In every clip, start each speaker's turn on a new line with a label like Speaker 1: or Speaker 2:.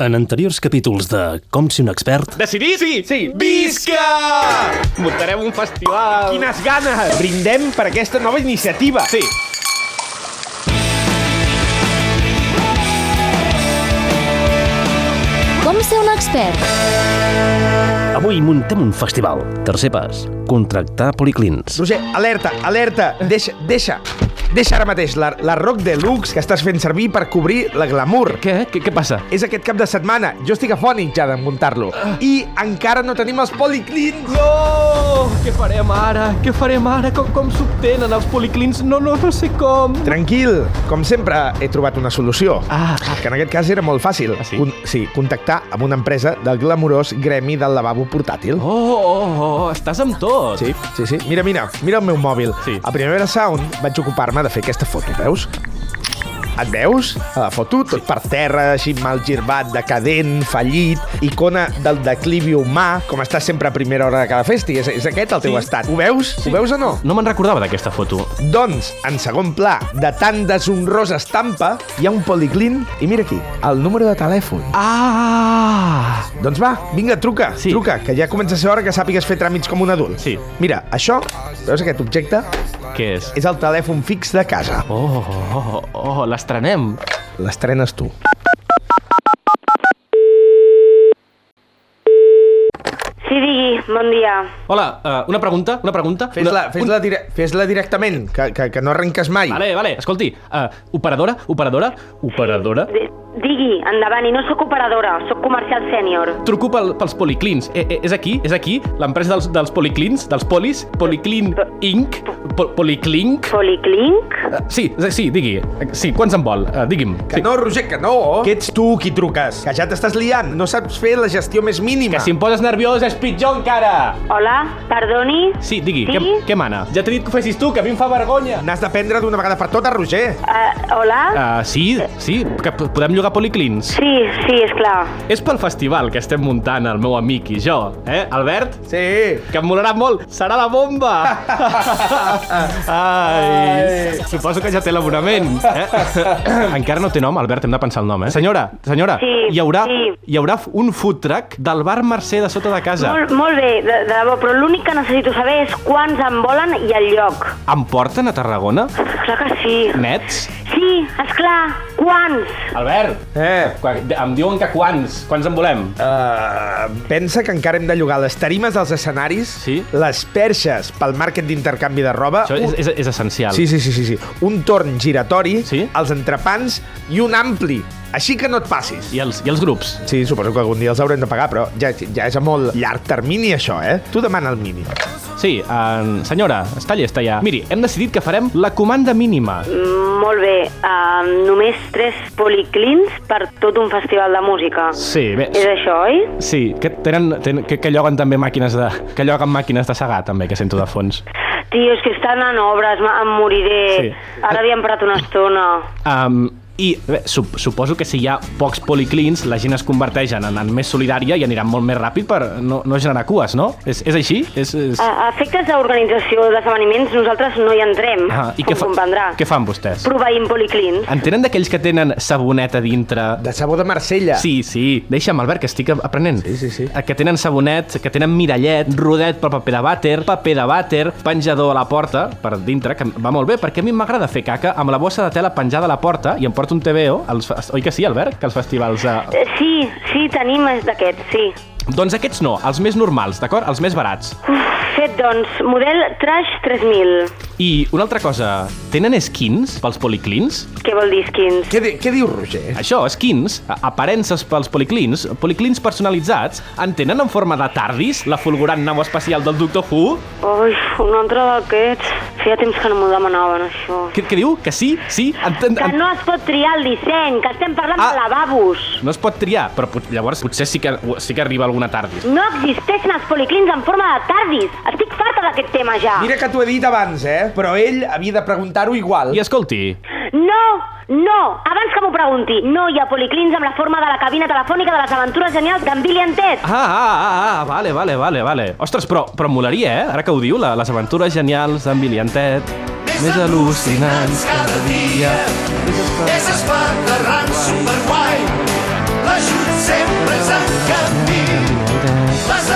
Speaker 1: En anteriors capítols de Com si un expert...
Speaker 2: Decidir? Sí, sí.
Speaker 3: Visca!
Speaker 2: Muntarem un festival.
Speaker 3: Quines ganes! Brindem per aquesta nova iniciativa.
Speaker 2: Sí.
Speaker 4: Com ser un expert?
Speaker 1: Avui muntem un festival. Tercer pas, contractar policlins.
Speaker 3: Roger, alerta, alerta! Deixa, deixa! Deixa ara mateix la, la Rock Deluxe que estàs fent servir per cobrir la glamour.
Speaker 2: Què? Què, què passa?
Speaker 3: És aquest cap de setmana. Jo estic afònic ja de muntar-lo. I encara no tenim els policlins.
Speaker 2: No! Què farem ara? Què farem ara? Com, com s'obtenen els policlins? No, no, no sé com.
Speaker 3: Tranquil, com sempre he trobat una solució.
Speaker 2: Ah,
Speaker 3: Que en aquest cas era molt fàcil.
Speaker 2: Ah, sí?
Speaker 3: sí, contactar amb una empresa del glamurós gremi del lavabo portàtil.
Speaker 2: oh, oh, oh, estàs amb tot.
Speaker 3: Sí, sí, sí. Mira, mira, mira el meu mòbil.
Speaker 2: Sí.
Speaker 3: A Primavera Sound vaig ocupar-me de fer aquesta foto, veus? Et veus? A la foto, tot per terra, així mal girbat, decadent, fallit, icona del declivi humà, com està sempre a primera hora de cada festi. És, és aquest el teu
Speaker 2: Sí.
Speaker 3: estat. Ho veus? Ho veus o no?
Speaker 2: No me'n recordava d'aquesta foto.
Speaker 3: Doncs, en segon pla, de tan deshonrosa estampa, hi ha un policlin i mira aquí, el número de telèfon.
Speaker 2: Ah!
Speaker 3: Doncs va, vinga, truca,
Speaker 2: Sí.
Speaker 3: sí. truca, que ja comença a ser hora que sàpigues fer tràmits com un adult.
Speaker 2: Sí.
Speaker 3: Mira, això, veus aquest objecte?
Speaker 2: Què és?
Speaker 3: És el telèfon fix de casa.
Speaker 2: Oh, oh, oh, oh l'estrenem.
Speaker 3: L'estrenes tu.
Speaker 5: Sí, digui, bon dia.
Speaker 2: Hola, uh, una pregunta, una pregunta.
Speaker 3: Fes-la
Speaker 2: una-
Speaker 3: fes la dire fes directament, que, que, que no arrenques mai.
Speaker 2: Vale, vale, escolti, uh, operadora, operadora, operadora...
Speaker 5: D digui, endavant, i no sóc operadora, sóc comercial sènior.
Speaker 2: Truco pel, pels policlins. Eh, eh, és aquí, és aquí, l'empresa dels, dels policlins, dels polis, Policlin Inc, po, Policlink...
Speaker 5: Policlink?
Speaker 2: Eh, Sí, eh, sí, digui. Eh, Sí, quants en vol? Uh, digui'm.
Speaker 3: Que
Speaker 2: Sí.
Speaker 3: no, Roger, que no. Que ets tu qui truques. Que ja t'estàs liant. No saps fer la gestió més mínima.
Speaker 2: Que si em poses nerviós és pitjor encara!
Speaker 5: Hola, perdoni?
Speaker 2: Sí, digui,
Speaker 5: Sí?
Speaker 2: Què, què mana? Ja t'he dit que ho fessis tu, que a mi em fa vergonya!
Speaker 3: N'has d'aprendre d'una vegada per totes, Roger.
Speaker 5: Uh, hola?
Speaker 2: Uh, sí, sí, que p- podem llogar policlins.
Speaker 5: Sí, sí, és clar.
Speaker 2: És pel festival que estem muntant el meu amic i jo, eh, Albert?
Speaker 3: Sí.
Speaker 2: Que em molarà molt, serà la bomba! Ai, suposo que ja té l'abonament. Eh? Encara no té nom, Albert, hem de pensar el nom, eh? Senyora, senyora,
Speaker 5: Sí,
Speaker 2: hi, haurà,
Speaker 5: sí.
Speaker 2: hi haurà un food truck del bar Mercè de sota de casa.
Speaker 5: Molt, molt bé, de, de debò, però l'únic que necessito saber és quants en volen i el lloc.
Speaker 2: Em porten a Tarragona?
Speaker 5: Clar que sí.
Speaker 2: Nets?
Speaker 5: Sí, és clar. Quants?
Speaker 2: Albert,
Speaker 3: Eh,
Speaker 2: qua- em diuen que quants, quants en volem?
Speaker 3: Uh, pensa que encara hem de llogar les tarimes dels escenaris,
Speaker 2: Sí.
Speaker 3: les perxes pel màrquet d'intercanvi de roba,
Speaker 2: Això és,
Speaker 3: un...
Speaker 2: és, és essencial.
Speaker 3: sí, sí, sí, sí, sí. un torn giratori,
Speaker 2: Sí.
Speaker 3: els entrepans i un ampli. Així que no et passis.
Speaker 2: I els, I els grups?
Speaker 3: Sí, suposo que algun dia els haurem de pagar, però ja, ja és a molt llarg termini, això, eh? Tu demana el mínim.
Speaker 2: Sí, en... senyora, està llesta ja. Miri, hem decidit que farem la comanda mínima.
Speaker 5: Mm, Molt bé, uh, només tres policlins per tot un festival de música.
Speaker 2: Sí, bé,
Speaker 5: És això, oi?
Speaker 2: Sí, que, tenen, ten, que, que lloguen també màquines de... Que lloguen màquines de segar, també, que sento de fons.
Speaker 5: Tio, és que estan en obres, ma- em moriré.
Speaker 2: Sí.
Speaker 5: Ara havia parat una estona.
Speaker 2: Um, I bé, sup, suposo que si hi ha pocs policlins, la gent es converteix en, en més solidària i anirà molt més ràpid per no, no generar cues, no? És, és així? És, és...
Speaker 5: A a efectes d'organització d'esdeveniments, nosaltres no hi entrem, ah,
Speaker 2: i
Speaker 5: com
Speaker 2: què, fa,
Speaker 5: comprendrà.
Speaker 2: què fan vostès?
Speaker 5: Proveïm policlins.
Speaker 2: En tenen d'aquells que tenen saboneta dintre?
Speaker 3: De sabó de Marsella.
Speaker 2: Sí, sí. Deixa'm, Albert, que estic aprenent.
Speaker 3: Sí, sí, sí.
Speaker 2: Que tenen sabonet, que tenen mirallet, rodet pel paper de vàter, paper de vàter, penjador a la porta, per dintre, que va molt bé, perquè a mi m'agrada fer caca amb la bossa de tela penjada a la porta i em porto un TVO, als, fe- oi que sí, Albert? Que els festivals... Eh...
Speaker 5: Eh, Sí, sí, tenim és d'aquest, sí.
Speaker 2: Doncs aquests no, els més normals, d'acord? Els més barats.
Speaker 5: Uf, fet, doncs, model Trash 3000.
Speaker 2: I una altra cosa, tenen skins pels policlins?
Speaker 5: Què vol dir, skins?
Speaker 3: Què, di què diu Roger?
Speaker 2: Això, skins, a- aparences pels policlins, policlins personalitzats, en tenen en forma de tardis, la fulgurant nau espacial del Doctor Who?
Speaker 5: Ui, un altre d'aquests. Feia temps que no m'ho demanaven, això.
Speaker 2: Què, què diu? Que sí? Sí? Entén,
Speaker 5: Que no es pot triar el disseny, que estem parlant
Speaker 2: Ah.
Speaker 5: de lavabos.
Speaker 2: no es pot triar, però pot, llavors potser sí que, sí que arriba alguna tardis.
Speaker 5: No existeixen els policlins en forma de tardis. Estic farta d'aquest tema ja.
Speaker 3: Mira que t'ho he dit abans, eh? Però ell havia de preguntar-ho igual.
Speaker 2: I escolti,
Speaker 5: No, no, abans que m'ho pregunti, no hi ha policlins amb la forma de la cabina telefònica de les aventures genials d'en Billy and Ted.
Speaker 2: ah, ah, ah, ah, vale, vale, vale, vale. Ostres, però, però em molaria, eh? Ara que ho diu, la, les aventures genials d'en Billy and Ted. Més al·lucinants cada dia.
Speaker 6: És espant de ranço per guai. L'ajut ser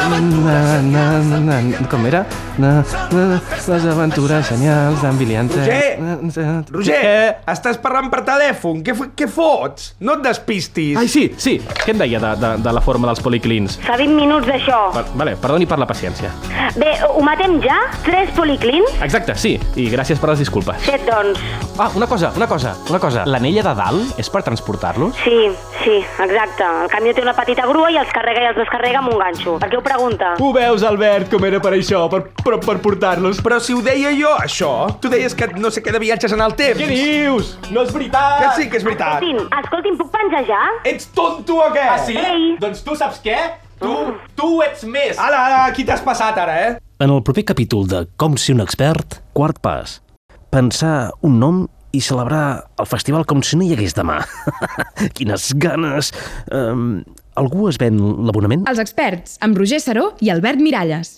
Speaker 2: na, na, na, na, com era? Na, na, les aventures genials d'en Billy Hunter.
Speaker 3: Roger!
Speaker 2: Na, na,
Speaker 3: Roger,
Speaker 2: Què?
Speaker 3: estàs parlant per telèfon. Què, f- què fots? No et despistis.
Speaker 2: Ai, sí, sí. Què em deia de, de, de la forma dels policlins?
Speaker 5: Fa 20 minuts d'això.
Speaker 2: Per, vale, perdoni per la paciència.
Speaker 5: Bé, ho matem ja? Tres policlins?
Speaker 2: Exacte, sí. I gràcies per les disculpes.
Speaker 5: Fet, doncs.
Speaker 2: Ah, una cosa, una cosa, una cosa. L'anella de dalt és per transportar-los?
Speaker 5: Sí, sí, exacte. El camió té una petita grua i els carrega i els descarrega amb un ganxo. Per què ho pregunta?
Speaker 2: Ho veus, Albert, com era per això, per, per, per portar-los?
Speaker 3: Però si ho deia jo, això. Tu deies que no sé què de viatges en el temps.
Speaker 2: Què dius? No és veritat!
Speaker 3: Que sí que és veritat.
Speaker 5: Escolti'm, escolti'm, puc penjar ja?
Speaker 3: Ets tonto o què?
Speaker 2: Ah, sí?
Speaker 5: Ei.
Speaker 2: Doncs tu saps què? Tu, tu ets més!
Speaker 3: Mm. Ala, ala, qui t'has passat ara, eh?
Speaker 1: En el proper capítol de Com si un expert, quart pas, pensar un nom i celebrar el festival com si no hi hagués demà. Quines ganes! Um, algú es ven l'abonament?
Speaker 6: Els experts, amb Roger Saró i Albert Miralles.